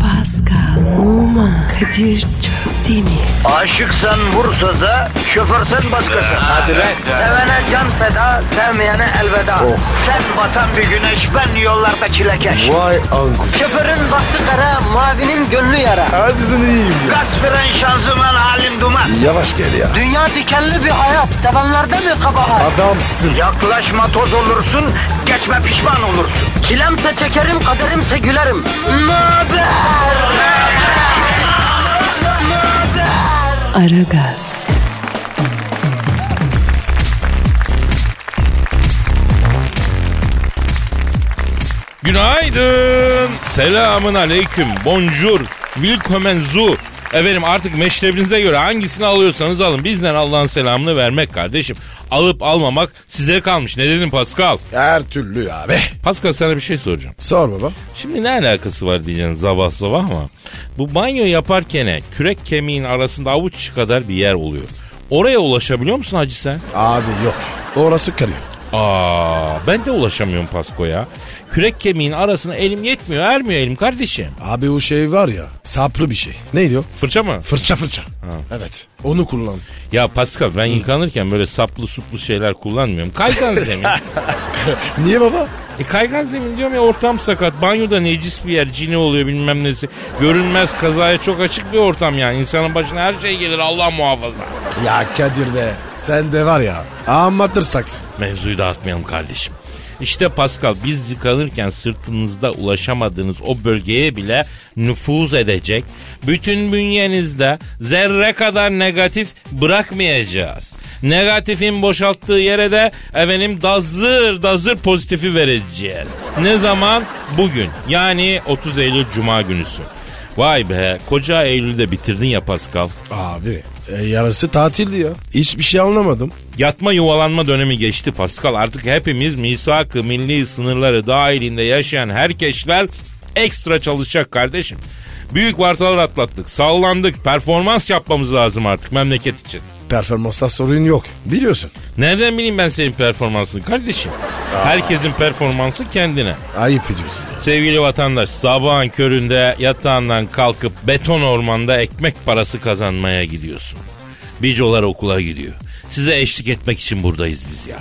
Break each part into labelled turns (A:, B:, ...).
A: Pascal, Oman, Kadir çok değil mi?
B: Aşıksan vursa da şoförsen başkasın. Hadi
C: lan.
B: Sevene can feda, sevmeyene elveda. Sen batan bir güneş, ben yollarda çilekeş.
C: Vay anku.
B: Şoförün baktı kara, mavinin gönlü yara.
C: Hadi sen iyiyim ya.
B: Kasperen şanzıman halin duman.
C: Yavaş gel ya.
B: Dünya dikenli bir hayat, sevenlerde mi kabahar?
C: Adamsın.
B: Yaklaşma toz olursun, geçme pişman olursun. Çilemse çekerim, kaderimse gülerim. Möber!
A: Aragaz,
D: Günaydın. Selamın aleyküm. Bonjour. Willkommen zu. Efendim artık meşrebinize göre hangisini alıyorsanız alın. Bizden Allah'ın selamını vermek kardeşim. Alıp almamak size kalmış. Ne dedim Pascal?
C: Her türlü abi.
D: Pascal sana bir şey soracağım.
C: Sor baba.
D: Şimdi ne alakası var diyeceksin sabah sabah ama bu banyo yaparken kürek kemiğin arasında avuç kadar bir yer oluyor. Oraya ulaşabiliyor musun hacı sen?
C: Abi yok. Orası karıyor.
D: Aa ben de ulaşamıyorum Pasko ya. Kürek kemiğin arasına elim yetmiyor ermiyor elim kardeşim.
C: Abi o şey var ya saplı bir şey. Neydi o?
D: Fırça mı?
C: Fırça fırça. Evet. Onu kullan.
D: Ya Pascal ben yıkanırken böyle saplı suplu şeyler kullanmıyorum. Kaygan zemin.
C: Niye baba?
D: E kaygan zemin diyorum ya ortam sakat. Banyoda necis bir yer cini oluyor bilmem nesi. Görünmez kazaya çok açık bir ortam yani. İnsanın başına her şey gelir Allah muhafaza.
C: Ya Kadir be. Sen de var ya. Amatör saksın.
D: Mevzuyu dağıtmayalım kardeşim. İşte Pascal biz yıkanırken sırtınızda ulaşamadığınız o bölgeye bile nüfuz edecek. Bütün bünyenizde zerre kadar negatif bırakmayacağız. Negatifin boşalttığı yere de efendim dazır dazır pozitifi vereceğiz. Ne zaman? Bugün. Yani 30 Eylül Cuma günüsü. Vay be koca Eylül'de bitirdin ya Pascal.
C: Abi. E, yarısı tatildi ya. Hiçbir şey anlamadım.
D: Yatma yuvalanma dönemi geçti Pascal. Artık hepimiz misak-ı milli sınırları dahilinde yaşayan herkesler ekstra çalışacak kardeşim. Büyük vartalar atlattık, sallandık, performans yapmamız lazım artık memleket için.
C: Performansta sorun yok. Biliyorsun.
D: Nereden bileyim ben senin performansını kardeşim? Herkesin performansı kendine.
C: Ayıp ediyorsun.
D: Sevgili vatandaş sabahın köründe yatağından kalkıp beton ormanda ekmek parası kazanmaya gidiyorsun. Bicolar okula gidiyor. Size eşlik etmek için buradayız biz ya.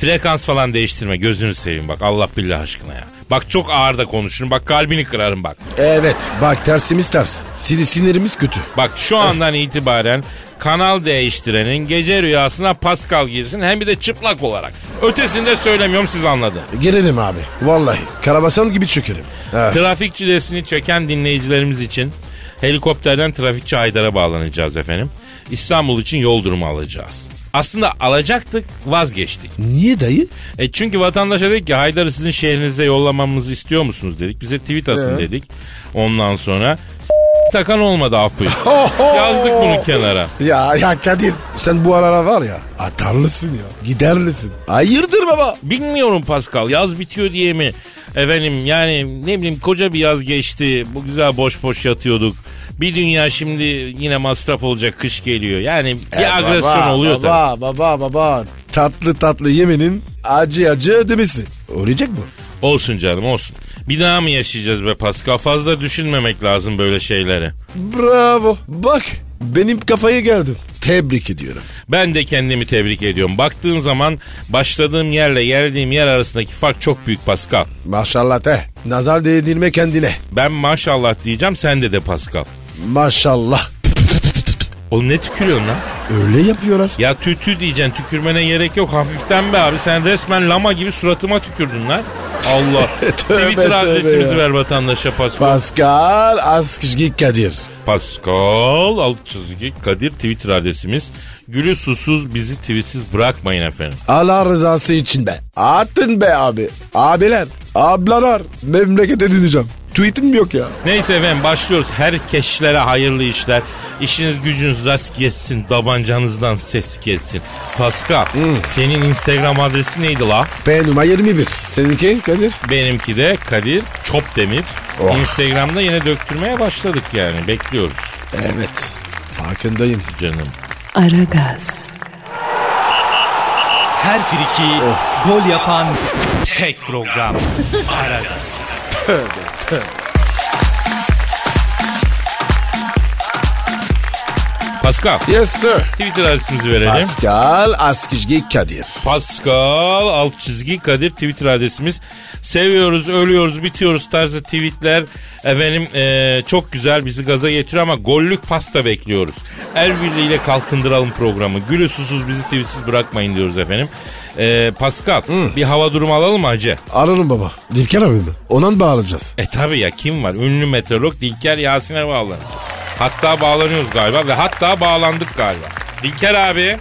D: Frekans falan değiştirme gözünü seveyim bak Allah billah aşkına ya. Bak çok ağır da konuşurum bak kalbini kırarım bak.
C: Evet. Bak tersimiz ters. Sin- Sinirimiz kötü.
D: Bak şu andan itibaren kanal değiştirenin gece rüyasına Pascal girsin hem bir de çıplak olarak. Ötesini de söylemiyorum siz anladın.
C: Girerim abi. Vallahi. Karabasan gibi çökerim. Ha.
D: Trafik çilesini çeken dinleyicilerimiz için helikopterden trafikçi Haydar'a bağlanacağız efendim. İstanbul için yol durumu alacağız. Aslında alacaktık vazgeçtik.
C: Niye dayı?
D: E çünkü vatandaşa dedik ki Haydar'ı sizin şehrinize yollamamızı istiyor musunuz dedik. Bize tweet atın
C: Ee?
D: dedik. Ondan sonra s- takan olmadı af buyur. Yazdık bunu kenara.
C: Ya ya Kadir sen bu aralar var ya atarlısın ya giderlisin. Hayırdır baba?
D: Bilmiyorum Pascal yaz bitiyor diye mi? Efendim yani ne bileyim koca bir yaz geçti. Bu güzel boş boş yatıyorduk. Bir dünya şimdi yine masraf olacak kış geliyor. Yani bir agresyon oluyor tabii.
C: E, baba, Baba baba tatlı tatlı yeminin acı acı ödemesi. Olacak mı?
D: Olsun canım olsun. Bir daha mı yaşayacağız be Pascal? Fazla düşünmemek lazım böyle şeyleri.
C: Bravo bak benim kafaya geldim. Tebrik ediyorum.
D: Ben de kendimi tebrik ediyorum. Baktığın zaman başladığım yerle geldiğim yer arasındaki fark çok büyük Pascal.
C: Maşallah te. Nazar değdirme kendine.
D: Ben maşallah diyeceğim sen de de Pascal.
C: Maşallah.
D: Oğlum ne tükürüyorsun lan?
C: Öyle yapıyorlar.
D: Ya tütü diyeceksin tükürmene gerek yok hafiften be abi sen resmen lama gibi suratıma tükürdün lan. Allah.
C: Tövbe,
D: Twitter
C: tövbe
D: adresimizi
C: ya.
D: ver vatandaşa Pascal.
C: Pascal Askışgi Kadir.
D: Pascal alt çizgi Kadir Twitter adresimiz. Gülü susuz bizi tweetsiz bırakmayın efendim.
C: Allah rızası için be. Atın be abi. Abiler, ablalar. Memlekete döneceğim. Tweetim yok ya.
D: Neyse efendim başlıyoruz. Herkeşlere hayırlı işler. İşiniz gücünüz rast gelsin. Dabancanızdan ses gelsin. Pascal senin Instagram adresi neydi la?
C: P numara 21. Seninki Kadir?
D: Benimki de Kadir Çopdemir.
C: Oh.
D: Instagram'da yine döktürmeye başladık yani. Bekliyoruz
C: Evet. Farkındayım.
D: canım.
A: Aragaz,
E: Her friki gol yapan tek program. Aragaz.
D: Pascal.
C: Yes sir.
D: Twitter adresimizi verelim.
C: Pascal Askizgi Kadir.
D: Pascal alt çizgi Kadir Twitter adresimiz. Seviyoruz, ölüyoruz, bitiyoruz tarzı tweetler efendim eee, çok güzel bizi gaza getiriyor ama gollük pasta bekliyoruz. El birliğiyle kalkındıralım programı. Gülü susuz bizi tweetsiz bırakmayın diyoruz efendim. Eee Pascal bir hava durumu alalım mı hacı?
C: Ararım baba. Dilker abi mi? Ona mı bağlanacağız?
D: E tabi ya kim var? Ünlü meteorolog Dilker Yasin'e bağlanacağız. Hatta bağlanıyoruz galiba ve hatta bağlandık galiba. Dilker abi.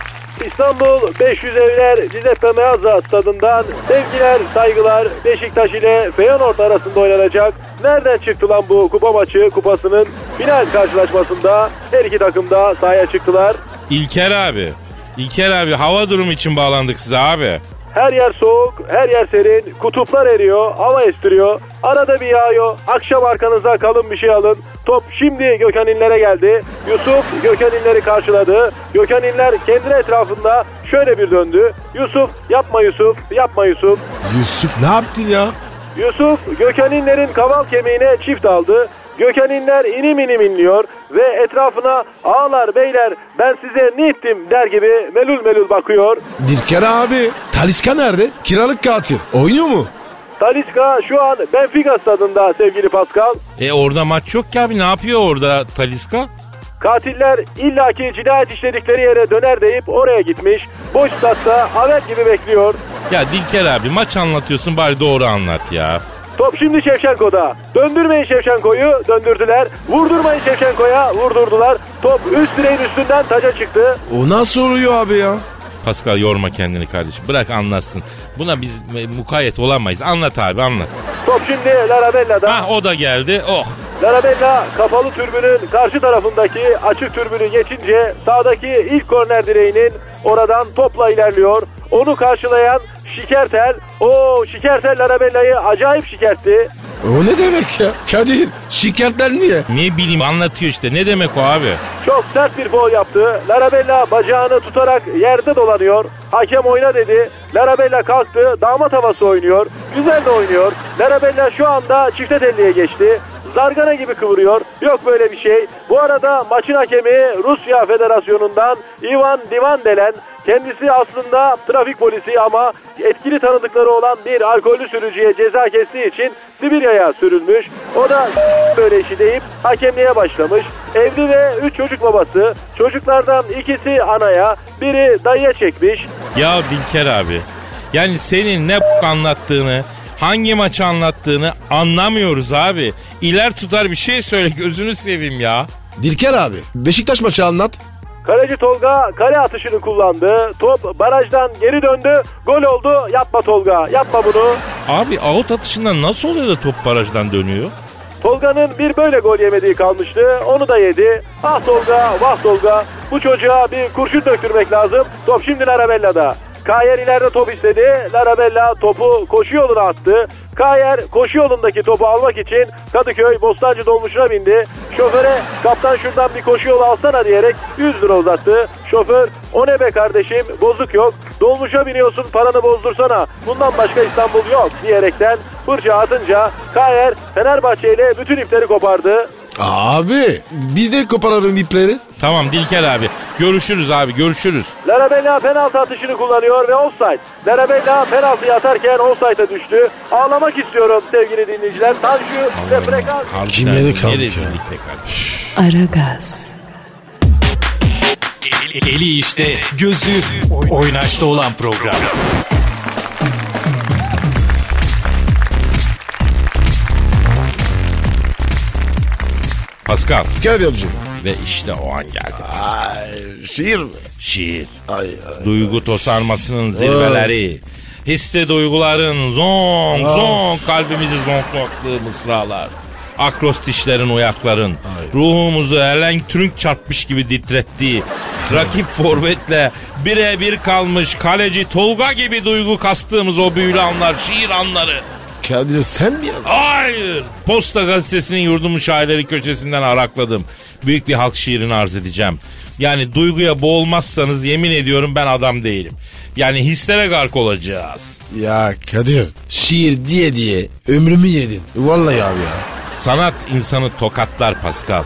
F: İstanbul 500 evler Cizeppe Meazza stadından sevgiler saygılar Beşiktaş ile Feyenoord arasında oynanacak. Nereden çıktı lan bu kupa maçı kupasının final karşılaşmasında her iki takım da sahaya çıktılar.
D: İlker abi. İlker abi hava durumu için bağlandık size abi.
F: Her yer soğuk, her yer serin, kutuplar eriyor, hava estiriyor, arada bir yağıyor, akşam arkanıza kalın bir şey alın. Top şimdi Gökhan İnler'e geldi. Yusuf Gökhan İnler'i karşıladı. Gökhan İnler kendi etrafında şöyle bir döndü. Yusuf yapma Yusuf, yapma Yusuf.
C: Yusuf ne yaptın ya?
F: Yusuf Gökhan İnler'in kaval kemiğine çift aldı. Gökhan İnler inim inim inliyor ve etrafına ağlar beyler ben size ne ettim der gibi melul melul bakıyor.
C: Dilker abi. Taliska nerede? Kiralık katil. Oynuyor mu?
F: Talisca şu an Benfica stadında sevgili Pascal.
D: E orada maç yok ki abi ne yapıyor orada Taliska?
F: Katiller illaki cinayet işledikleri yere döner deyip oraya gitmiş. Boş statta haber gibi bekliyor.
D: Ya Dilker abi maç anlatıyorsun bari doğru anlat ya.
F: Top şimdi Şevçenko'da. Döndürmeyin Şevçenko'yu döndürdüler. Vurdurmayın Şevçenko'ya vurdurdular. Top üst direğin üstünden taca çıktı.
C: O nasıl oluyor abi ya?
D: Pascal yorma kendini kardeşim bırak anlatsın. Buna biz e, mukayyet olamayız anlat abi anlat.
F: Top şimdi Larabella'da.
D: Ha o da geldi oh.
F: Larabella kapalı türbünün karşı tarafındaki açık türbünü geçince sağdaki ilk korner direğinin oradan topla ilerliyor. Onu karşılayan Şikertel. O Şikertel Larabella'yı acayip şikertti.
C: O ne demek ya? Kadir şikayetler niye?
D: Ne bileyim anlatıyor işte ne demek o abi.
F: Çok sert bir foul yaptı. Larabella bacağını tutarak yerde dolanıyor. Hakem oyna dedi. Larabella kalktı. Damat havası oynuyor. Güzel de oynuyor. Larabella şu anda çifte telliye geçti. Zargana gibi kıvırıyor. Yok böyle bir şey. Bu arada maçın hakemi Rusya Federasyonu'ndan Ivan Divan delen kendisi aslında trafik polisi ama etkili tanıdıkları olan bir alkollü sürücüye ceza kestiği için Sibirya'ya sürülmüş. O da böyle işi deyip hakemliğe başlamış. Evli ve 3 çocuk babası. Çocuklardan ikisi anaya, biri dayıya çekmiş.
D: Ya Dilker abi yani senin ne anlattığını hangi maçı anlattığını anlamıyoruz abi. İler tutar bir şey söyle gözünü seveyim ya.
C: Dilker abi Beşiktaş maçı anlat.
F: Kaleci Tolga kale atışını kullandı. Top barajdan geri döndü. Gol oldu. Yapma Tolga, yapma bunu.
D: Abi out atışından nasıl oluyor da top barajdan dönüyor?
F: Tolga'nın bir böyle gol yemediği kalmıştı. Onu da yedi. Ah Tolga, vah Tolga. Bu çocuğa bir kurşun döktürmek lazım. Top şimdi Larabella'da. Kayer ileride top istedi. Larabella topu koşu yoluna attı. Kayer koşu yolundaki topu almak için Kadıköy Bostancı dolmuşuna bindi. Şoföre kaptan şuradan bir koşu yolu alsana diyerek 100 lira uzattı. Şoför o ne be kardeşim bozuk yok. Dolmuşa biniyorsun paranı bozdursana. Bundan başka İstanbul yok diyerekten fırça atınca Kayer Fenerbahçe ile bütün ipleri kopardı.
C: Abi biz de koparalım ipleri.
D: Tamam Dilker abi görüşürüz abi görüşürüz.
F: Larabella penaltı atışını kullanıyor ve offside. Larabella penaltıyı atarken offside'a düştü. Ağlamak istiyorum sevgili dinleyiciler. Tanju ve frekans.
D: Harbiden
C: nerede kaldık
D: ne
C: ya?
D: rezillik be kardeşim.
A: Aragaz,
E: Eli, eli işte, gözü oynaşta olan program.
D: Pascal
C: Kadir abicim.
D: ve işte o an geldi.
C: Ay, şiir mi?
D: Şiir.
C: Ay, ay.
D: Duygu tosarmasının zirveleri. Hisse duyguların zonk zonk kalbimizi zonklattığı mısralar. Akrostişlerin uyakların. Ruhumuzu elenk trünk çarpmış gibi titrettiği. Rakip forvetle birebir kalmış kaleci Tolga gibi duygu kastığımız o büyülü anlar, şiir anları.
C: Kadir sen mi yazdın?
D: Hayır. Posta gazetesinin yurdumun şairleri köşesinden arakladım. Büyük bir halk şiirini arz edeceğim. Yani duyguya boğulmazsanız yemin ediyorum ben adam değilim. Yani hislere gark olacağız.
C: Ya Kadir şiir diye diye ömrümü yedin. Vallahi abi ya.
D: Sanat insanı tokatlar Pascal.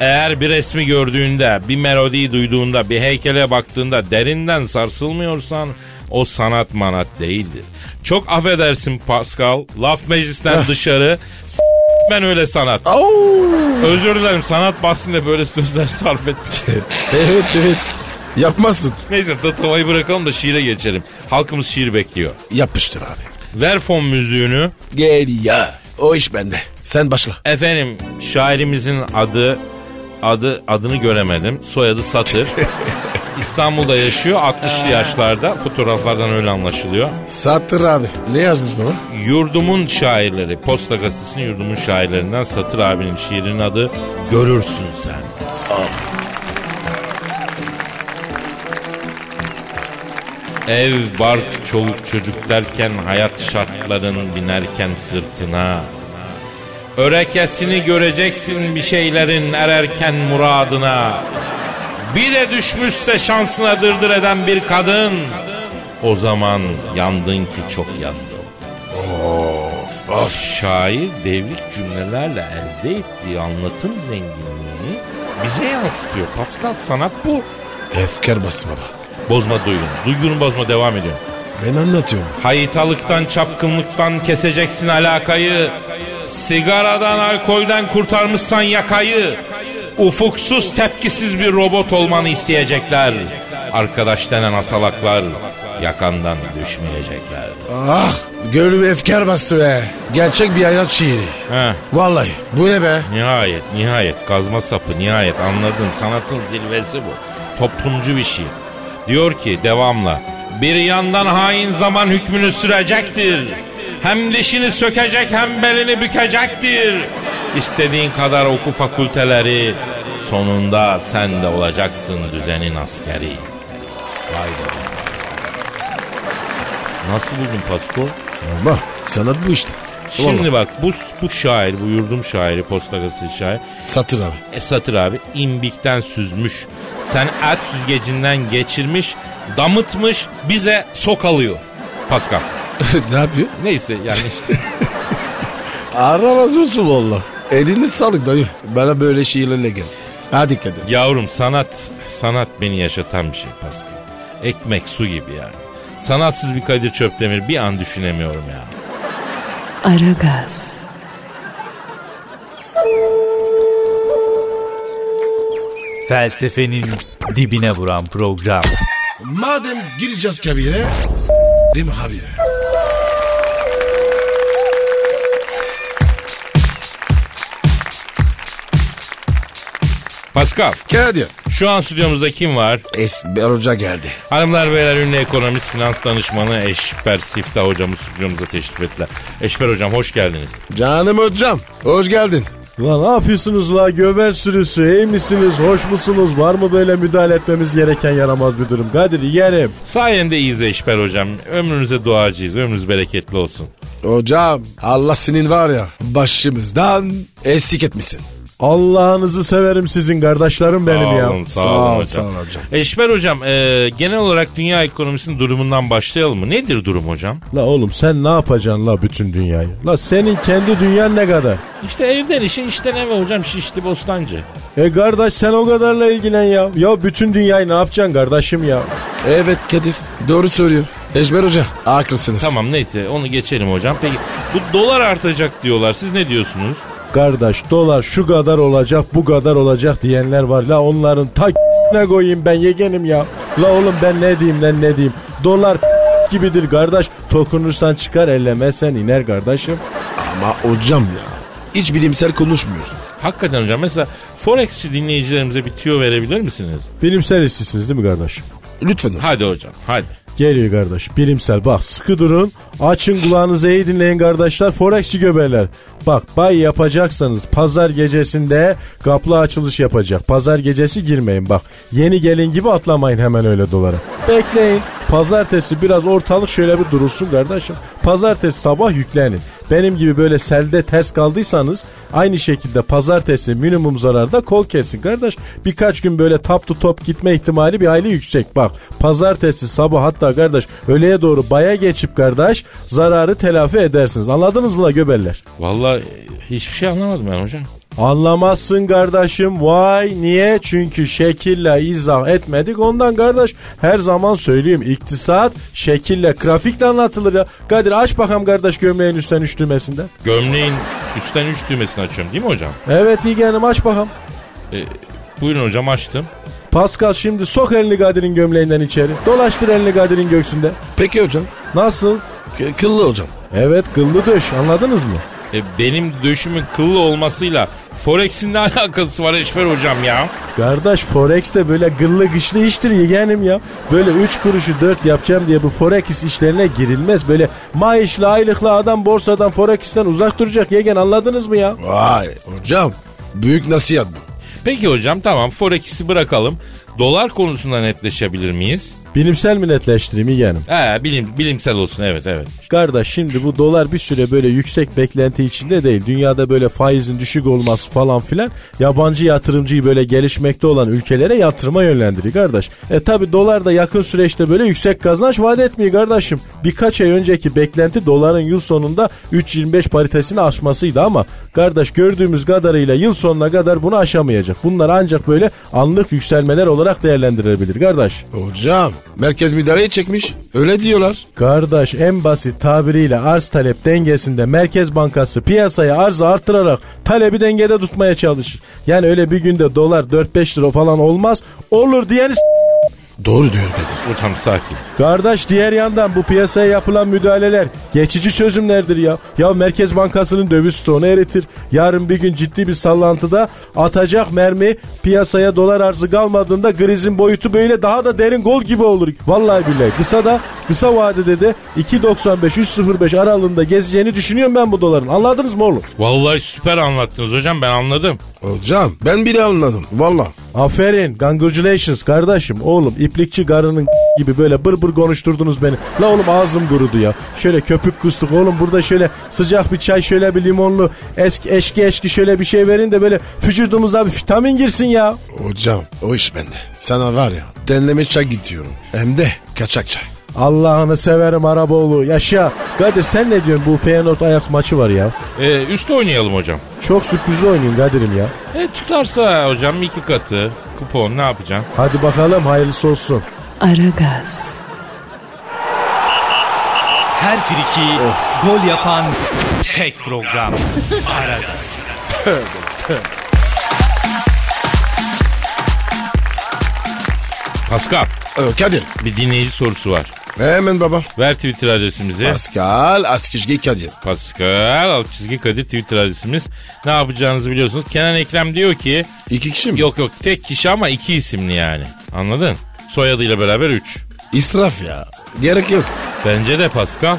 D: Eğer bir resmi gördüğünde, bir melodiyi duyduğunda, bir heykele baktığında derinden sarsılmıyorsan o sanat manat değildir. Çok affedersin Pascal, laf meclisten dışarı s- ben öyle sanat. Özür dilerim sanat bahsinde böyle sözler sarf ettim.
C: evet evet. Yapmazsın.
D: Neyse tatavayı bırakalım da şiire geçelim. Halkımız şiir bekliyor.
C: Yapıştır abi.
D: Ver fon müziğini.
C: Gel ya. O iş bende. Sen başla.
D: Efendim şairimizin adı adı adını göremedim. Soyadı Satır. İstanbul'da yaşıyor 60'lı yaşlarda. Fotoğraflardan öyle anlaşılıyor.
C: Sattır abi. Ne yazmış baba?
D: Yurdumun şairleri. Posta gazetesinin yurdumun şairlerinden Satır abinin şiirinin adı Görürsün sen. Ev, bark, çoluk, çocuk derken hayat şartların binerken sırtına. Örekesini göreceksin bir şeylerin ererken muradına. Bir de düşmüşse şansına dırdır eden bir kadın. O zaman yandın ki çok yandın. Şair devrik cümlelerle elde ettiği anlatım zenginliğini bize yansıtıyor. Pascal sanat bu.
C: Efkar bas baba.
D: Bozma duygunu. Duygunu bozma devam ediyor.
C: Ben anlatıyorum.
D: Haytalıktan, çapkınlıktan keseceksin alakayı. Sigaradan, alkolden kurtarmışsan yakayı. Ufuksuz, tepkisiz bir robot olmanı isteyecekler. Arkadaş denen asalaklar yakandan düşmeyecekler.
C: Ah gönlüme efkar bastı be. Gerçek bir hayat şiiri.
D: Heh.
C: Vallahi bu ne be?
D: Nihayet, nihayet. Kazma sapı, nihayet. Anladın. Sanatın zirvesi bu. Toplumcu bir şey. Diyor ki devamla. Bir yandan hain zaman hükmünü sürecektir. Hem dişini sökecek hem belini bükecektir. İstediğin kadar oku fakülteleri. Sonunda sen de olacaksın düzenin askeri. Vay be. Nasıl buldun Pasko?
C: Ama sanat bu işte.
D: Şimdi bak bu, bu şair, bu yurdum şairi, posta gazetesi şair.
C: Satır abi.
D: E, satır abi imbikten süzmüş. Sen et süzgecinden geçirmiş, damıtmış, bize sokalıyor. Pascal.
C: ne yapıyor?
D: Neyse yani
C: Ara razı olsun valla. Elini sağlık dayı. Bana böyle şiirlerle gel. Hadi kadın.
D: yavrum sanat, sanat beni yaşatan bir şey Pascal. Ekmek su gibi yani. Sanatsız bir Kadir Çöptemir bir an düşünemiyorum ya.
A: Aragaz,
E: Felsefenin dibine vuran program.
C: Madem gireceğiz kabire, s**rim abi.
D: Pascal
C: Kadir.
D: şu an stüdyomuzda kim var?
C: Esmer Hoca geldi.
D: Hanımlar beyler ünlü ekonomist finans danışmanı Eşber Siftah hocamız stüdyomuza teşrif ettiler. Eşber hocam hoş geldiniz.
C: Canım hocam, hoş geldin.
G: La ne yapıyorsunuz la göber sürüsü iyi misiniz hoş musunuz var mı böyle müdahale etmemiz gereken yaramaz bir durum Kadir yerim.
D: Sayende iyiyiz Eşber hocam. Ömrünüze duacıyız. Ömrünüz bereketli olsun.
C: Hocam, Allah senin var ya, başımızdan eksik etmesin.
G: Allah'ınızı severim sizin kardeşlerim benim ya.
D: olun, sağ,
C: Sağ
D: olun
C: ol,
D: hocam.
C: sağ ol hocam.
D: Eşber hocam e, genel olarak dünya ekonomisinin durumundan başlayalım mı? Nedir durum hocam?
G: La oğlum sen ne yapacaksın la bütün dünyayı? La senin kendi dünyan ne kadar?
D: İşte evden işe işten eve hocam şişti bostancı.
G: E kardeş sen o kadarla ilgilen ya. Ya bütün dünyayı ne yapacaksın kardeşim ya?
C: Evet Kadir, doğru söylüyor. Esmer Hoca, haklısınız.
D: Tamam neyse onu geçelim hocam. Peki bu dolar artacak diyorlar. Siz ne diyorsunuz?
G: Kardeş dolar şu kadar olacak bu kadar olacak diyenler var. La onların ta ne koyayım ben yegenim ya. La oğlum ben ne diyeyim lan ne diyeyim. Dolar gibidir kardeş. Tokunursan çıkar ellemezsen iner kardeşim.
C: Ama hocam ya, hiç bilimsel konuşmuyorsun.
D: Hakikaten hocam mesela Forexçi dinleyicilerimize bir tüyo verebilir misiniz?
G: Bilimsel işçisiniz değil mi kardeşim?
C: Lütfen hocam.
D: Hadi hocam hadi.
G: Geliyor kardeş bilimsel bak sıkı durun açın kulağınızı iyi dinleyin kardeşler foreksçi göberler. Bak bay yapacaksanız pazar gecesinde kaplı açılış yapacak pazar gecesi girmeyin bak yeni gelin gibi atlamayın hemen öyle dolara. Bekleyin pazartesi biraz ortalık şöyle bir durulsun kardeşim pazartesi sabah yüklenin. Benim gibi böyle selde ters kaldıysanız aynı şekilde pazartesi minimum zararda kol kesin kardeş. Birkaç gün böyle top to top gitme ihtimali bir hayli yüksek bak. Pazartesi sabah hatta kardeş öğleye doğru baya geçip kardeş zararı telafi edersiniz. Anladınız mı la göberler?
D: Vallahi e, hiçbir şey anlamadım ben hocam.
G: Anlamazsın kardeşim. Vay niye? Çünkü şekille izah etmedik. Ondan kardeş her zaman söyleyeyim. iktisat şekille, grafikle anlatılır ya. Kadir aç bakalım kardeş gömleğin üstten üç düğmesinde.
D: Gömleğin üstten üç düğmesini açıyorum değil mi hocam?
G: Evet iyi gelim aç bakalım.
D: E, buyurun hocam açtım.
G: Pascal şimdi sok elini Kadir'in gömleğinden içeri. Dolaştır elini Kadir'in göğsünde.
C: Peki hocam.
G: Nasıl?
C: K- kıllı hocam.
G: Evet kıllı döş anladınız mı?
D: E, benim döşümün kıllı olmasıyla Forex'in ne alakası var Eşber hocam ya?
G: Kardeş Forex de böyle gıllı gışlı iştir yeğenim ya. Böyle 3 kuruşu 4 yapacağım diye bu Forex işlerine girilmez. Böyle maaşlı aylıklı adam borsadan Forex'ten uzak duracak yegen anladınız mı ya?
C: Vay hocam. Büyük nasihat bu.
D: Peki hocam tamam Forex'i bırakalım. Dolar konusunda netleşebilir miyiz?
G: Bilimsel mi netleştireyim yeğenim?
D: He bilim, bilimsel olsun evet evet.
G: Kardeş şimdi bu dolar bir süre böyle yüksek beklenti içinde değil. Dünyada böyle faizin düşük olması falan filan yabancı yatırımcıyı böyle gelişmekte olan ülkelere yatırıma yönlendiriyor kardeş. E tabi dolar da yakın süreçte böyle yüksek kazanç vaat etmiyor kardeşim. Birkaç ay önceki beklenti doların yıl sonunda 3.25 paritesini aşmasıydı ama kardeş gördüğümüz kadarıyla yıl sonuna kadar bunu aşamayacak. Bunlar ancak böyle anlık yükselmeler olarak değerlendirilebilir kardeş.
C: Hocam. Merkez müdahaleyi çekmiş. Öyle diyorlar.
G: Kardeş en basit tabiriyle arz talep dengesinde Merkez Bankası piyasaya arzı arttırarak talebi dengede tutmaya çalışır. Yani öyle bir günde dolar 4-5 lira falan olmaz. Olur diyen
C: Doğru diyor Kadir.
D: Hocam sakin.
G: Kardeş diğer yandan bu piyasaya yapılan müdahaleler geçici çözümlerdir ya. Ya Merkez Bankası'nın döviz stoğunu eritir. Yarın bir gün ciddi bir sallantıda atacak mermi piyasaya dolar arzı kalmadığında krizin boyutu böyle daha da derin gol gibi olur. Vallahi billahi kısa da kısa vadede de 2.95-3.05 aralığında gezeceğini düşünüyorum ben bu doların. Anladınız mı oğlum?
D: Vallahi süper anlattınız hocam ben anladım.
C: Hocam ben bile anladım. Valla.
G: Aferin. Congratulations kardeşim. Oğlum iplikçi garının gibi böyle bır bır konuşturdunuz beni. La oğlum ağzım kurudu ya. Şöyle köpük kustuk oğlum burada şöyle sıcak bir çay şöyle bir limonlu eski eşki eşki şöyle bir şey verin de böyle vücudumuza bir vitamin girsin ya.
C: Hocam o iş bende. Sana var ya denleme çay gidiyorum. Hem de kaçak çay.
G: Allah'ını severim Araboğlu yaşa. Kadir sen ne diyorsun bu Feyenoord Ajax maçı var ya.
D: E, üste oynayalım hocam.
G: Çok sürprizli oynuyorsun Kadir'im ya.
D: E, tutarsa hocam iki katı kupon ne yapacaksın?
G: Hadi bakalım hayırlısı olsun.
A: Aragaz,
E: Her friki gol yapan tek program. Aragaz.
D: Pascal
C: Ee, Kadir.
D: bir dinleyici sorusu var.
C: Hemen baba.
D: Ver Twitter adresimizi.
C: Pascal Askizgi Kadir.
D: Pascal alt çizgi Kadir Twitter adresimiz. Ne yapacağınızı biliyorsunuz. Kenan Ekrem diyor ki
C: İki kişi mi?
D: yok yok tek kişi ama iki isimli yani. Anladın? Soyadıyla beraber üç.
C: İsraf ya. Gerek yok.
D: Bence de Pascal.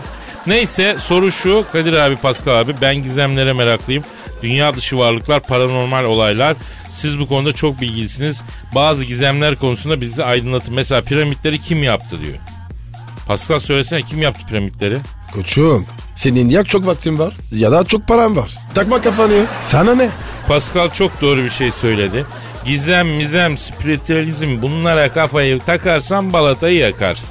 D: Neyse soru şu Kadir abi Pascal abi ben gizemlere meraklıyım. Dünya dışı varlıklar paranormal olaylar. Siz bu konuda çok bilgilisiniz. Bazı gizemler konusunda bizi aydınlatın. Mesela piramitleri kim yaptı diyor. Pascal söylesene kim yaptı piramitleri?
C: Koçum senin ya çok vaktin var ya da çok paran var. Takma kafanı ya. Sana ne?
D: Pascal çok doğru bir şey söyledi. Gizem, mizem, spiritüalizm bunlara kafayı takarsan balatayı yakarsın.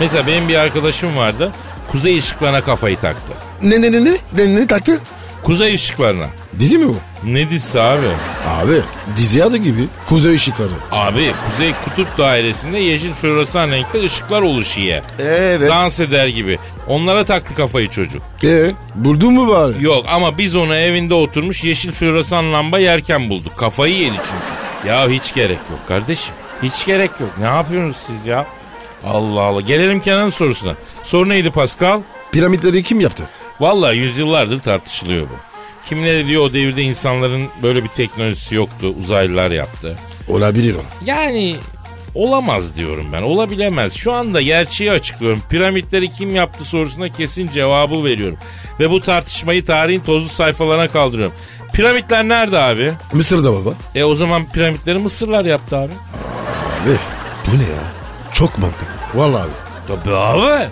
D: Mesela benim bir arkadaşım vardı. Kuzey ışıklarına kafayı taktı.
C: Ne ne ne ne? Ne ne taktı?
D: Kuzey ışıklarına.
C: Dizi mi bu?
D: Ne dizisi abi?
C: Abi dizi adı gibi. Kuzey ışıkları.
D: Abi Kuzey Kutup Dairesi'nde yeşil floresan renkte ışıklar oluşuyor.
C: Evet.
D: Dans eder gibi. Onlara taktı kafayı çocuk.
C: Ee, buldun mu bari?
D: Yok ama biz onu evinde oturmuş yeşil floresan lamba yerken bulduk. Kafayı yedi çünkü. Ya hiç gerek yok kardeşim. Hiç gerek yok. Ne yapıyorsunuz siz ya? Allah Allah. Gelelim Kenan'ın sorusuna. Soru neydi Pascal?
C: Piramitleri kim yaptı?
D: Vallahi yüzyıllardır tartışılıyor bu. Kimleri diyor o devirde insanların böyle bir teknolojisi yoktu. Uzaylılar yaptı.
C: Olabilir o.
D: Yani olamaz diyorum ben. Olabilemez. Şu anda gerçeği açıklıyorum. Piramitleri kim yaptı sorusuna kesin cevabı veriyorum. Ve bu tartışmayı tarihin tozlu sayfalarına kaldırıyorum. Piramitler nerede abi?
C: Mısır'da baba.
D: E o zaman piramitleri Mısırlar yaptı abi.
C: Abi bu ne ya? Çok mantıklı. Vallahi abi.
D: Tabii abi.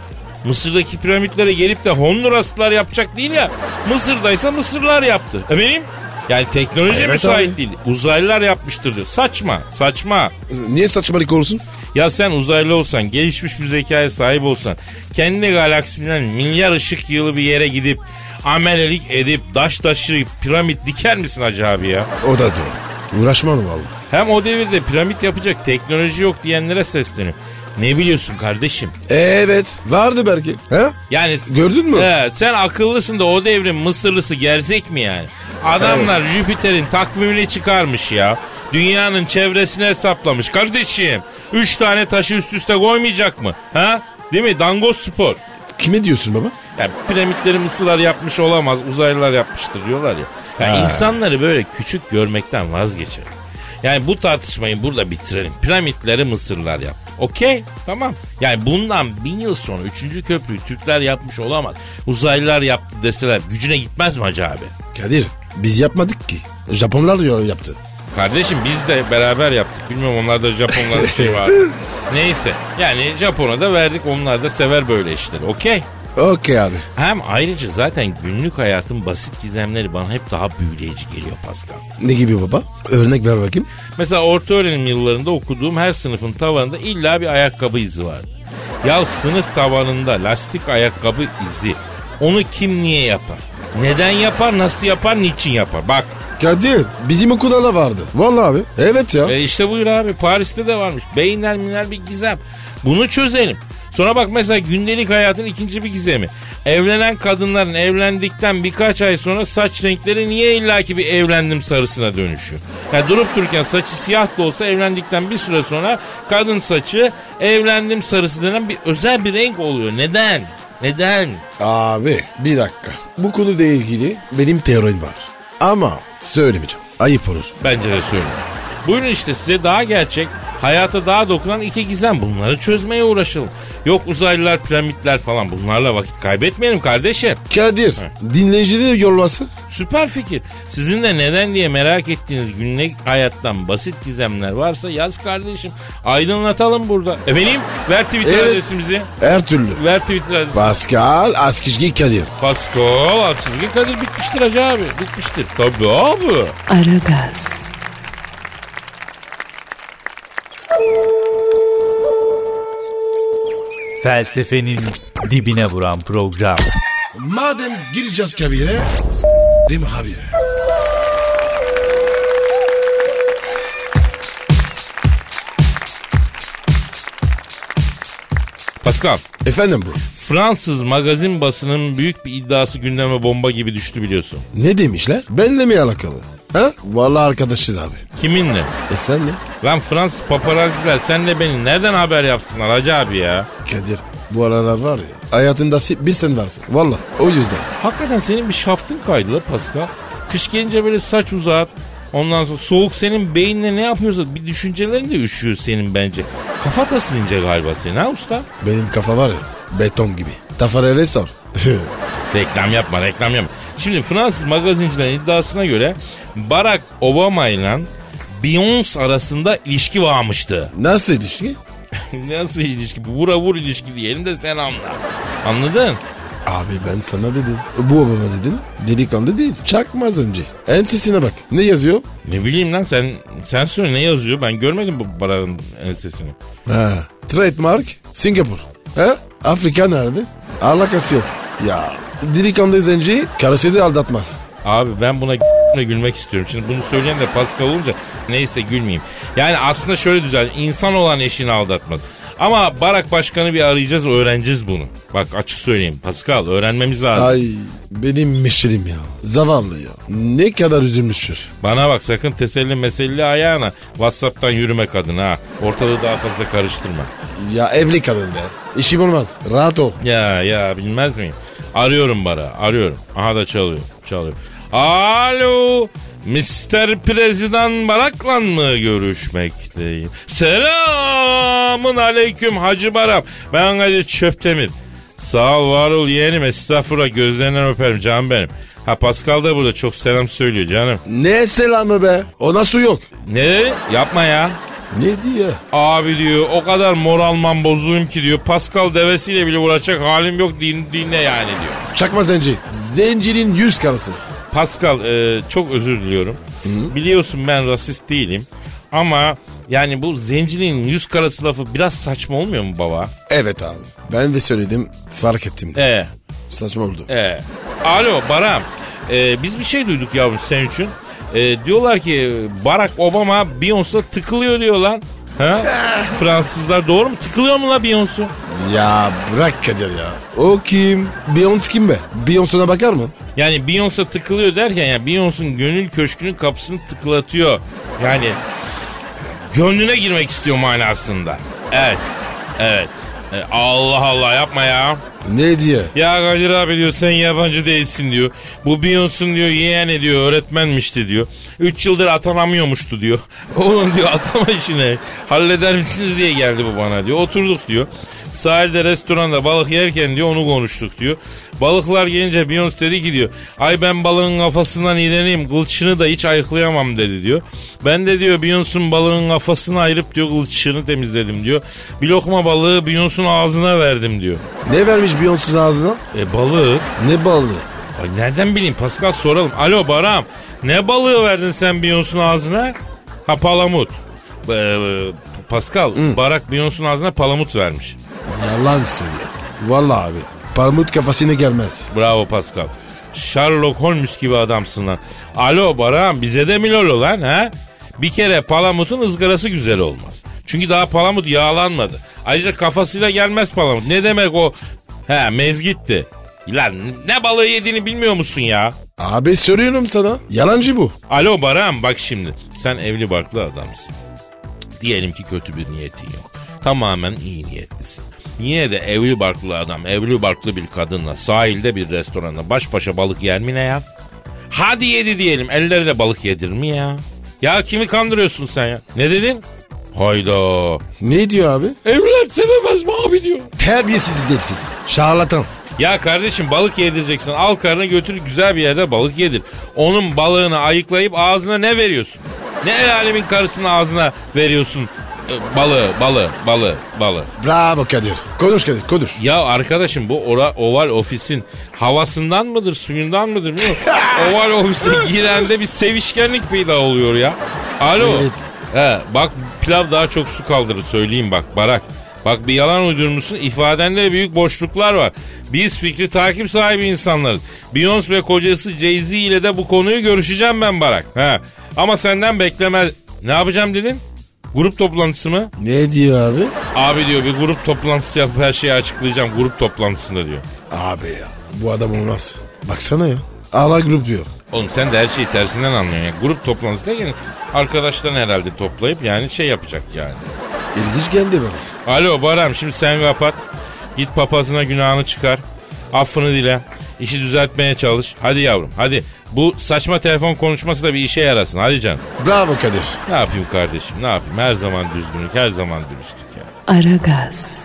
D: Mısır'daki piramitlere gelip de Honduraslılar yapacak değil ya. Mısır'daysa Mısırlar yaptı. Efendim? Yani teknoloji
C: Evet
D: müsait
C: abi.
D: değil. Uzaylılar yapmıştır diyor. Saçma, saçma.
C: Niye saçmalık olsun?
D: Ya sen uzaylı olsan, gelişmiş bir zekaya sahip olsan, kendi galaksinin milyar ışık yılı bir yere gidip amelelik edip daş taşı piramit diker misin hacı abi ya?
C: O da doğru. Uğraşmadım abi.
D: Hem o devirde piramit yapacak teknoloji yok diyenlere sesleniyorum. Ne biliyorsun kardeşim?
C: Evet. Vardı belki. He?
D: Yani
C: Gördün mü?
D: He, sen akıllısın da o devrin Mısırlısı gerzek mi yani? Adamlar Jüpiter'in takvimini çıkarmış ya. Dünyanın çevresini hesaplamış kardeşim. Üç tane taşı üst üste koymayacak mı? Ha? Değil mi? Dangoz spor.
C: Kime diyorsun baba?
D: Yani piramitleri Mısırlar yapmış olamaz, uzaylılar yapmıştır diyorlar ya. Yani insanları böyle küçük görmekten vazgeçelim. Yani bu tartışmayı burada bitirelim. Piramitleri Mısırlar yaptı. Okey tamam. Yani bundan bin yıl sonra 3. köprüyü Türkler yapmış olamaz. Uzaylılar yaptı deseler gücüne gitmez mi hacı abi?
C: Kadir biz yapmadık ki. Japonlar diyor yaptı.
D: Kardeşim biz de beraber yaptık. Bilmiyorum onlarda Japonlarda bir şey var. Neyse yani Japon'a da verdik onlar da sever böyle işleri okey.
C: Okey abi.
D: Hem ayrıca zaten günlük hayatın basit gizemleri bana hep daha büyüleyici geliyor Pascal.
C: Ne gibi baba? Örnek ver bakayım.
D: Mesela orta öğrenim yıllarında okuduğum her sınıfın tavanında illa bir ayakkabı izi vardı. Ya sınıf tavanında lastik ayakkabı izi. Onu kim niye yapar? Neden yapar, nasıl yapar, niçin yapar? Bak
C: Kadir bizim okulda da vardı. Vallahi abi. Evet ya.
D: e işte buyur abi Paris'te de varmış. Beyinler minler bir gizem. Bunu çözelim. Sonra bak mesela gündelik hayatın ikinci bir gizemi. Evlenen kadınların evlendikten birkaç ay sonra saç renkleri niye illaki bir evlendim sarısına dönüşüyor? Ya durup dururken saçı siyah da olsa evlendikten bir süre sonra kadın saçı evlendim sarısı denen bir özel bir renk oluyor. Neden? Neden?
C: Abi bir dakika. Bu konuyla ilgili benim teorim var. Ama söylemeyeceğim. Ayıp olur.
D: Bence de söyle. Buyurun işte size daha gerçek, hayata daha dokunan iki gizem. Bunları çözmeye uğraşalım. Yok uzaylılar, piramitler falan bunlarla vakit kaybetmeyelim kardeşim.
C: Kadir dinleyicileri yorulması.
D: Süper fikir. Sizin de neden diye merak ettiğiniz günlük hayattan basit gizemler varsa yaz kardeşim. Aydınlatalım burada. Efendim ver Twitter
C: Evet.
D: adresimizi.
C: Her türlü.
D: Ver Twitter adresimizi.
C: Pascal Askizgi Kadir.
D: Pascal Altçizgi Kadir bitmiştir hacı abi. Bitmiştir. Tabii abi.
A: Aragaz,
E: Felsefenin dibine vuran program.
C: Madem gireceğiz kabire. Rim abi.
D: Pascal.
C: Efendim bu.
D: Fransız magazin basının büyük bir iddiası gündeme bomba gibi düştü biliyorsun.
C: Ne demişler? Benle mi alakalı? Ha? Vallahi arkadaşız abi.
D: Kiminle?
C: E sen ne?
D: Lan Fransız paparazziler senle beni nereden haber yapsınlar hacı abi ya?
C: Kadir bu aralar var ya hayatında si- bir sen varsın. Valla o yüzden.
D: Hakikaten senin bir şaftın kaydı la Pascal. Kış gelince böyle saç uzat. Ondan sonra soğuk senin beyinle ne yapıyorsa bir düşüncelerin de üşüyor senin bence. Kafatasın ince galiba senin ha usta?
C: Benim kafa var ya beton gibi. Tafarele sor.
D: Reklam yapma reklam yapma. Şimdi Fransız magazincilerin iddiasına göre Barack Obama ile Beyoncé arasında ilişki varmıştı.
C: Nasıl ilişki?
D: Nasıl ilişki? Bu Vura vur ilişki diyelim de sen anla. Anladın?
C: Abi ben sana dedim. Bu obama dedin. Delikanlı değil. Çakmaz önce. Ensesine bak. Ne yazıyor?
D: Ne bileyim lan sen sen söyle ne yazıyor? Ben görmedim bu paranın ensesini.
C: Ha. Trademark Singapur. He? Afrika nerede? Alakası yok. Ya delikanlı zenci karısı da aldatmaz.
D: Abi ben buna gülmek istiyorum. Şimdi bunu söyleyen de Pascal olunca neyse gülmeyeyim. Yani aslında şöyle düzel. insan olan eşini aldatmaz. Ama Barak Başkanı bir arayacağız öğreneceğiz bunu. Bak açık söyleyeyim Pascal öğrenmemiz lazım.
C: Ay benim meşerim ya. Zavallı ya. Ne kadar üzülmüştür.
D: Bana bak sakın teselli meselli ayağına. Whatsapp'tan yürüme kadın ha. Ortalığı daha fazla karıştırma.
C: Ya evli kadın be. İşim olmaz. Rahat ol.
D: Ya ya bilmez miyim? Arıyorum bara arıyorum. Aha da çalıyor çalıyor. Alo Mr. Prezident Barak'la mı görüşmekteyim? Selamın aleyküm Hacı Barak. Ben Kadir Çöptemir. Sağ ol var ol yeğenim estağfurullah gözlerinden öperim canım benim. Ha Pascal da burada çok selam söylüyor canım.
C: Ne selamı be? Ona su yok.
D: Ne dedi? Yapma ya.
C: Ne diye?
D: Abi diyor o kadar moralman bozuğum ki diyor. Pascal devesiyle bile uğraşacak halim yok din, dinle yani diyor.
C: Çakma zenci. Zencinin yüz karısı.
D: Pascal e, çok özür diliyorum. Biliyorsun ben rasist değilim. Ama yani bu zencinin yüz karası lafı biraz saçma olmuyor mu baba?
C: Evet abi. Ben de söyledim. Fark ettim.
D: E,
C: Saçma oldu.
D: e. Alo Baram. Ee, biz bir şey duyduk yavrum sen için. Ee, diyorlar ki Barack Obama Beyoncé'la tıkılıyor diyor lan. Ha? Fransızlar doğru mu? Tıkılıyor mu la Beyoncé?
C: Ya bırak Kadir ya. O kim? Beyoncé kim be? Beyoncé'na bakar mı?
D: Yani Beyoncé tıkılıyor derken yani Beyoncé'nın gönül köşkünün kapısını tıklatıyor. Yani gönlüne girmek istiyor manasında. Evet. Evet. E, Allah Allah yapma ya.
C: Ne diye?
D: Ya Kadir abi diyor sen yabancı değilsin diyor. Bu Beyoncé'nın diyor yeğeni diyor öğretmenmişti diyor. 3 yıldır atanamıyormuştu diyor. Oğlum diyor atama işini halleder misiniz diye geldi bu bana diyor. Oturduk diyor. Sahilde restoranda balık yerken diyor onu konuştuk diyor. Balıklar gelince Beyoncé dedi ki diyor. Ay ben balığın kafasından iğreneyim kılçını da hiç ayıklayamam dedi diyor. Ben de diyor Beyoncé'nın balığın kafasını ayırıp diyor kılçını temizledim diyor. Bir lokma balığı Beyoncé'nın ağzına verdim diyor.
C: Ne vermiş Beyoncé'nin ağzına?
D: E balık?
C: Ne balığı?
D: Ay nereden bileyim Pascal soralım. Alo Baram ne balığı verdin sen Beyoncé'nin ağzına? Ha palamut. Ee, e, Pascal Barak Beyoncé'nin ağzına palamut vermiş.
C: Yalan söylüyor. Vallahi abi. Parmut kafasına gelmez.
D: Bravo Pascal. Sherlock Holmes gibi adamsın lan. Alo Baram bize de milolo lan ha? Bir kere palamutun ızgarası güzel olmaz. Çünkü daha palamut yağlanmadı. Ayrıca kafasıyla gelmez palamut. Ne demek o? He mezgitti. Lan ne balığı yediğini bilmiyor musun ya?
C: Abi söylüyorum sana. Yalancı bu.
D: Alo Baran bak şimdi. Sen evli barklı adamsın. Cık, Diyelim ki kötü bir niyetin yok. Tamamen iyi niyetlisin. Yine de evli barklı adam, evli barklı bir kadınla sahilde bir restoranda baş başa balık yer mi ne ya? Hadi yedi diyelim. Elleriyle balık yedir mi ya? Ya kimi kandırıyorsun sen ya? Ne dedin? Hayda.
C: Ne diyor abi?
D: Evlat sevemez mi abi diyor.
C: Terbiyesiz edepsiz. Şarlatan.
D: Ya kardeşim balık yedireceksin. Al karını götür güzel bir yerde balık yedir. Onun balığını ayıklayıp ağzına ne veriyorsun? Ne el alemin karısının ağzına veriyorsun? E, Balığı, balığı, balığı, balığı.
C: Bravo Kadir. Konuş Kadir konuş.
D: Ya arkadaşım bu ora, oval ofisin havasından mıdır, suyundan mıdır bilmiyorum. oval ofise girende bir sevişkenlik peyda oluyor ya. Alo.
C: Evet.
D: He, bak pilav daha çok su kaldırır söyleyeyim bak Barak. Bak bir yalan uydurmuşsun ifadende büyük boşluklar var. Biz fikri takip sahibi insanlarız. Beyoncé ve kocası Jay-Z ile de bu konuyu görüşeceğim ben Barak. He. Ama senden bekleme... Ne yapacağım dedin? Grup toplantısı mı?
C: Ne diyor abi?
D: Abi diyor bir grup toplantısı yapıp her şeyi açıklayacağım grup toplantısında diyor.
C: Abi ya bu adam olmaz. Baksana ya. Ala grup diyor.
D: Oğlum sen de her şeyi tersinden anlıyorsun. ya. grup toplantısı derken arkadaşlarını herhalde toplayıp yani şey yapacak yani.
C: İlginç geldi bana.
D: Alo Baram şimdi sen kapat. Git papazına günahını çıkar. Affını dile. İşi düzeltmeye çalış. Hadi yavrum hadi. Bu saçma telefon konuşması da bir işe yarasın. Hadi canım.
C: Bravo Kadir.
D: Ne yapayım kardeşim ne yapayım. Her zaman düzgünlük her zaman dürüstlük ya.
A: Aragaz,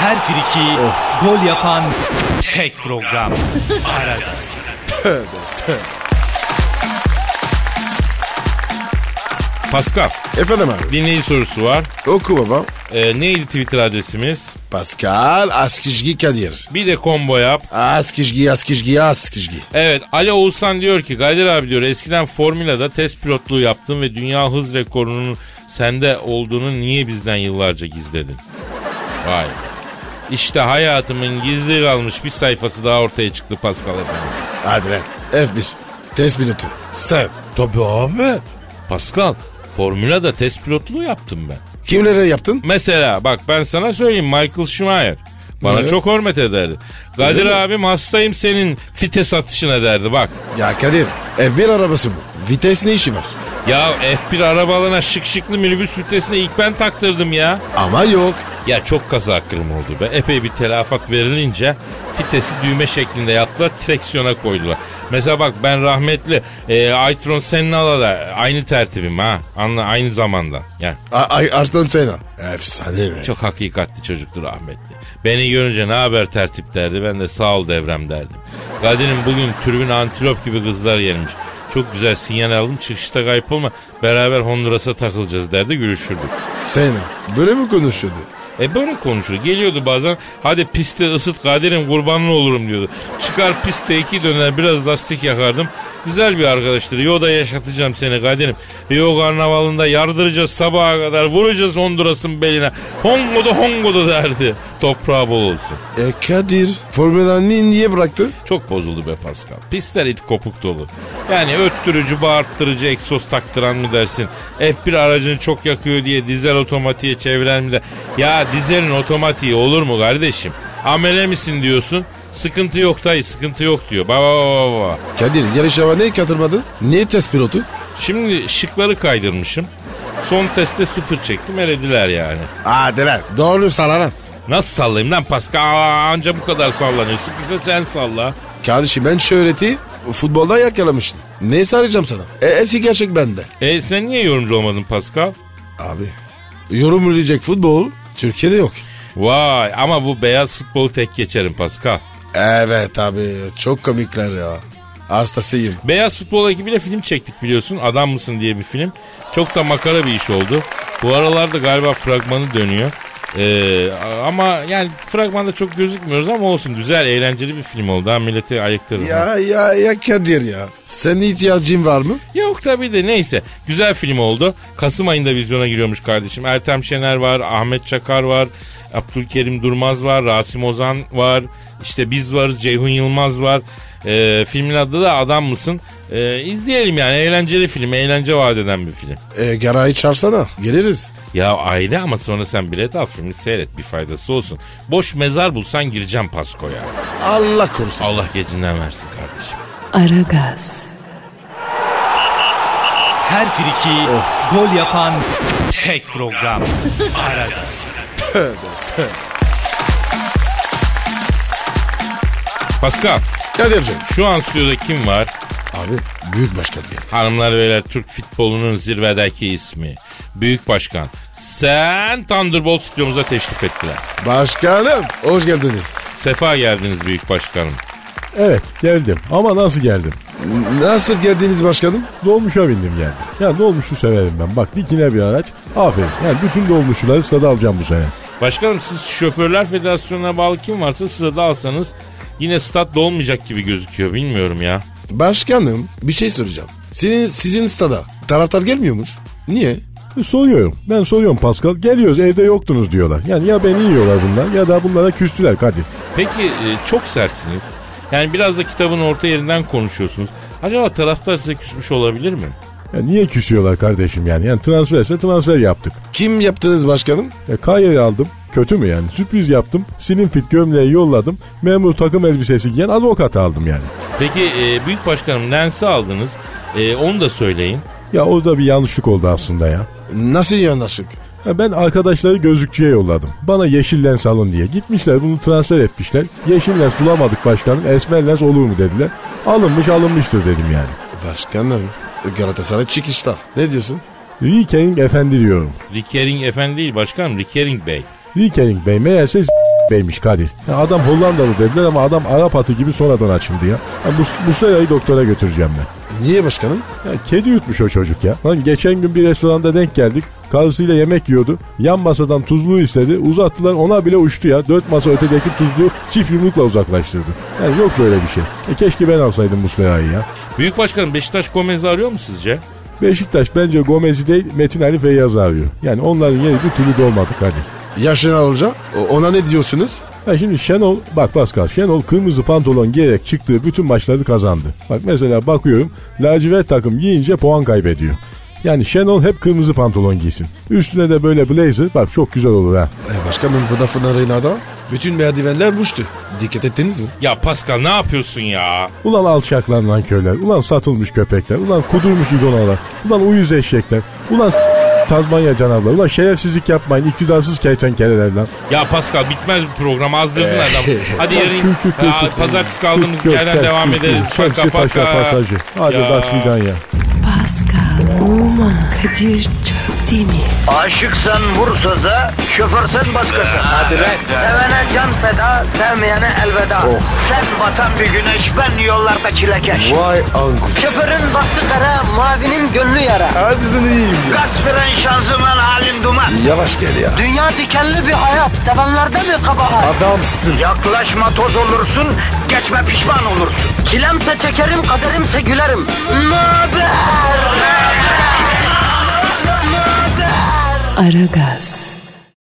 E: Her friki gol yapan tek program. Aragaz.
D: Pascal
C: Efendim abi.
D: dinleyici sorusu var.
C: Oku baba.
D: Ee, neydi Twitter adresimiz?
C: Pascal Askizgi Kadir.
D: Bir de combo yap.
C: Askizgi Askizgi Askizgi.
D: Evet Ali Oğuzhan diyor ki Kadir abi diyor eskiden Formula'da test pilotluğu yaptın ve dünya hız rekorunun sende olduğunu niye bizden yıllarca gizledin? Vay. be. İşte hayatımın gizli kalmış bir sayfası daha ortaya çıktı Pascal efendim.
C: Hadi lan. F1. Test pilotu. Sen.
D: Tabii abi. Pascal Formula'da test pilotluğu yaptım ben.
C: Kimlere yaptın?
D: Mesela bak ben sana söyleyeyim Michael Schumacher. Bana
C: Evet.
D: çok hürmet ederdi. Kadir
C: mi?
D: abim hastayım senin fites atışına derdi bak.
C: Ya Kadir. F1 arabası bu. Vites ne işi var?
D: Ya F1 arabalarına şık şıklı minibüs vitesine ilk ben taktırdım ya.
C: Ama yok.
D: Ya çok kaza kırım oldu be. Epey bir telafat verilince vitesi düğme şeklinde yaptılar direksiyona koydular. Mesela bak ben rahmetli e, Aytron Senna'la da aynı tertibim ha. Anla, aynı zamanda. Yani
C: A- Ay Arslan Sena. Efsane be.
D: çok hakikatli çocuktur rahmetli. Beni görünce ne haber tertip derdi. Ben de sağ ol devrem derdim. Kadir'im bugün türbün antilop gibi kızlar gelmiş. Çok güzel sinyal aldım çıkışta kayıp olma. Beraber Honduras'a takılacağız derdi gülüşürdük.
C: Sena. Böyle mi konuşuyordu?
D: E böyle konuşur. Geliyordu bazen hadi piste ısıt Kadir'im kurbanlı olurum diyordu. Çıkar piste iki döner biraz lastik yakardım. Güzel bir arkadaştır. Yoda yaşatacağım seni Kadir'im. Rio karnavalında yardıracağız sabaha kadar. Vuracağız Honduras'ın beline. Hongoda hongoda derdi. Toprağı bol olsun.
C: E Kadir Formula ni- niye bıraktı?
D: Çok bozuldu be Pascal. Pistler it kopuk dolu. Yani öttürücü, bağırttırıcı, egzoz taktıran mı dersin? F1 aracını çok yakıyor diye dizel otomatiğe çeviren mi de? Ya dizelin otomatiği olur mu kardeşim? Amele misin diyorsun? Sıkıntı yok dayı, sıkıntı yok diyor. Baba baba baba.
C: Kadir yarışama ne katılmadı? Niye test pilotu?
D: Şimdi şıkları kaydırmışım. Son testte sıfır çektim elediler yani.
C: Hadi lan. Doğru sana lan.
D: Nasıl sallayayım lan Pascal? Aa, anca bu kadar sallanıyor. Sıkıysa sen salla.
C: Kardeşim ben şöhreti futbolda yakalamıştım. Ne saracağım sana? E, hepsi gerçek bende.
D: E sen niye yorumcu olmadın Pascal?
C: Abi yorum ürecek futbol Türkiye'de yok.
D: Vay ama bu beyaz futbolu tek geçerim Pascal.
C: Evet abi çok komikler ya. Hastasıyım.
D: Beyaz futbol ekibiyle film çektik biliyorsun. Adam mısın diye bir film. Çok da makara bir iş oldu. Bu aralarda galiba fragmanı dönüyor. Ee, ama yani fragmanda çok gözükmüyoruz ama olsun güzel eğlenceli bir film oldu. Ha, milleti ayıktırır.
C: Ya ya ya Kadir ya. Senin ihtiyacın var mı?
D: Yok tabii de neyse. Güzel film oldu. Kasım ayında vizyona giriyormuş kardeşim. Ertem Şener var, Ahmet Çakar var, Abdülkerim Durmaz var, Rasim Ozan var, işte biz varız, Ceyhun Yılmaz var. Ee, filmin adı da Adam Mısın? Ee, izleyelim yani eğlenceli film, eğlence vaat eden bir film.
C: E, Garay'ı çağırsana. Geliriz.
D: Ya aile ama sonra sen bilet al filmi seyret bir faydası olsun. Boş mezar bulsan gireceğim Pasko'ya.
C: Allah korusun.
D: Allah gecinden versin kardeşim.
A: Aragaz,
E: Her friki gol yapan tek program. Aragaz.
D: Pascal
C: Kadir'cim.
D: şu an stüdyoda kim var?
C: Abi büyük başkan geldi.
D: Hanımlar beyler Türk futbolunun zirvedeki ismi. Büyük başkan. Sen Thunderbolt stüdyomuza teşrif ettiler.
C: Başkanım hoş geldiniz.
D: Sefa geldiniz büyük başkanım.
G: Evet geldim ama nasıl geldim?
C: Nasıl geldiniz başkanım?
G: Dolmuşa bindim geldim. Ya dolmuşu severim ben. Bak dikine bir araç. Aferin. Yani bütün dolmuşçuları stada alacağım bu sene.
D: Başkanım siz Şoförler Federasyonu'na bağlı kim varsa size de alsanız yine stat dolmayacak gibi gözüküyor bilmiyorum ya.
C: Başkanım bir şey soracağım. Senin sizin stada taraftar gelmiyormuş. Niye?
G: E, Soruyorum. Ben soruyorum Pascal. Geliyoruz evde yoktunuz diyorlar. Yani ya beni yiyorlar bunlar ya da bunlara küstüler Kadir.
D: Peki e, çok sertsiniz. Yani biraz da kitabın orta yerinden konuşuyorsunuz. Acaba taraftar size küsmüş olabilir mi?
G: Ya niye küsüyorlar kardeşim yani? Yani transferse transfer yaptık.
C: Kim yaptınız başkanım?
G: E, Kaya'yı aldım. Kötü mü yani? Sürpriz yaptım. Slim fit gömleği yolladım. Memur takım elbisesi giyen avukat aldım yani.
D: Peki e, büyük başkanım Lens'i aldınız. E, onu da söyleyin.
G: Ya orada bir yanlışlık oldu aslında ya.
C: Nasıl yanlaşık?
G: Ha, Ben arkadaşları gözlükçüye yolladım. Bana yeşil lens alın diye. Gitmişler bunu transfer etmişler. Yeşil lens bulamadık başkanım. Esmer lens olur mu dediler. Alınmış alınmıştır dedim yani.
C: Başkanım Galatasaray çıkışta. Ne diyorsun?
G: Rikering efendi diyorum.
D: Rickering efendi değil başkanım Rickering Bey.
G: Rikering bey meğerse s- beymiş Kadir. Ya adam Hollandalı dediler ama adam Arap atı gibi sonradan açıldı ya. ya bu, bu sırayı doktora götüreceğim ben.
C: Niye başkanım?
G: Ya kedi yutmuş o çocuk ya. Lan geçen gün bir restoranda denk geldik. Karısıyla yemek yiyordu. Yan masadan tuzluğu istedi. Uzattılar ona bile uçtu ya. Dört masa ötedeki tuzluğu çift yumrukla uzaklaştırdı. Yani yok böyle bir şey. E keşke ben alsaydım Muslera'yı ya.
D: Büyük başkanım Beşiktaş Gomez'i arıyor mu sizce?
G: Beşiktaş bence Gomez'i değil Metin Ali Feyyaz'ı arıyor. Yani onların yeri bir türlü dolmadı hadi.
C: Yaşına olacak. O- Ona ne diyorsunuz?
G: Ya şimdi Şenol, bak Pascal Şenol kırmızı pantolon giyerek çıktığı bütün maçları kazandı. Bak mesela bakıyorum lacivert takım giyince puan kaybediyor. Yani Şenol hep kırmızı pantolon giysin. Üstüne de böyle blazer bak çok güzel olur ha.
C: E başkanım Vodafone Arena'da bütün merdivenler boştu. Dikkat ettiniz mi?
D: Ya Pascal ne yapıyorsun ya?
G: Ulan alçaklar lan köyler, ulan satılmış köpekler, ulan kudurmuş igonalar, ulan uyuz eşekler, ulan s- Tazmanya canavarları, ulan şerefsizlik yapmayın, iktidarsız kertenkeleler lan.
D: Ya Pascal bitmez bu program azdırdın adam. Hadi
G: Ulan
D: yarın
G: Eh. kü- kü- kü-
D: Aa,
G: kü-
D: pazartesi
G: kü-
D: kaldığımız
G: kü-
D: yerden
G: kü-
D: devam
G: kü-
D: ederiz.
G: kü-
D: Paka
G: Şemsi Paşa
D: paka.
G: pasajı. Hadi
D: Ya.
G: ya. ya.
A: Pascal, Oman, Kadir çok değil mi?
B: Aşıksan vursa da, şoförsen başkasın. Hadi
D: lan.
B: Sevene can feda, sevmeyene elveda. Sen batan bir güneş, ben yollarda çilekeş.
C: Vay anku.
B: Şoförün baktı kara, mavinin gönlü yara.
C: Hadi sen iyiyim ya.
B: Kasperen şanzıman halin duman.
C: Yavaş gel ya.
B: Dünya dikenli bir hayat, sevenlerde mi kabahar?
C: Adamsın.
B: Yaklaşma toz olursun, geçme pişman olursun. Çilemse çekerim, kaderimse gülerim. Möber!
A: Aragaz.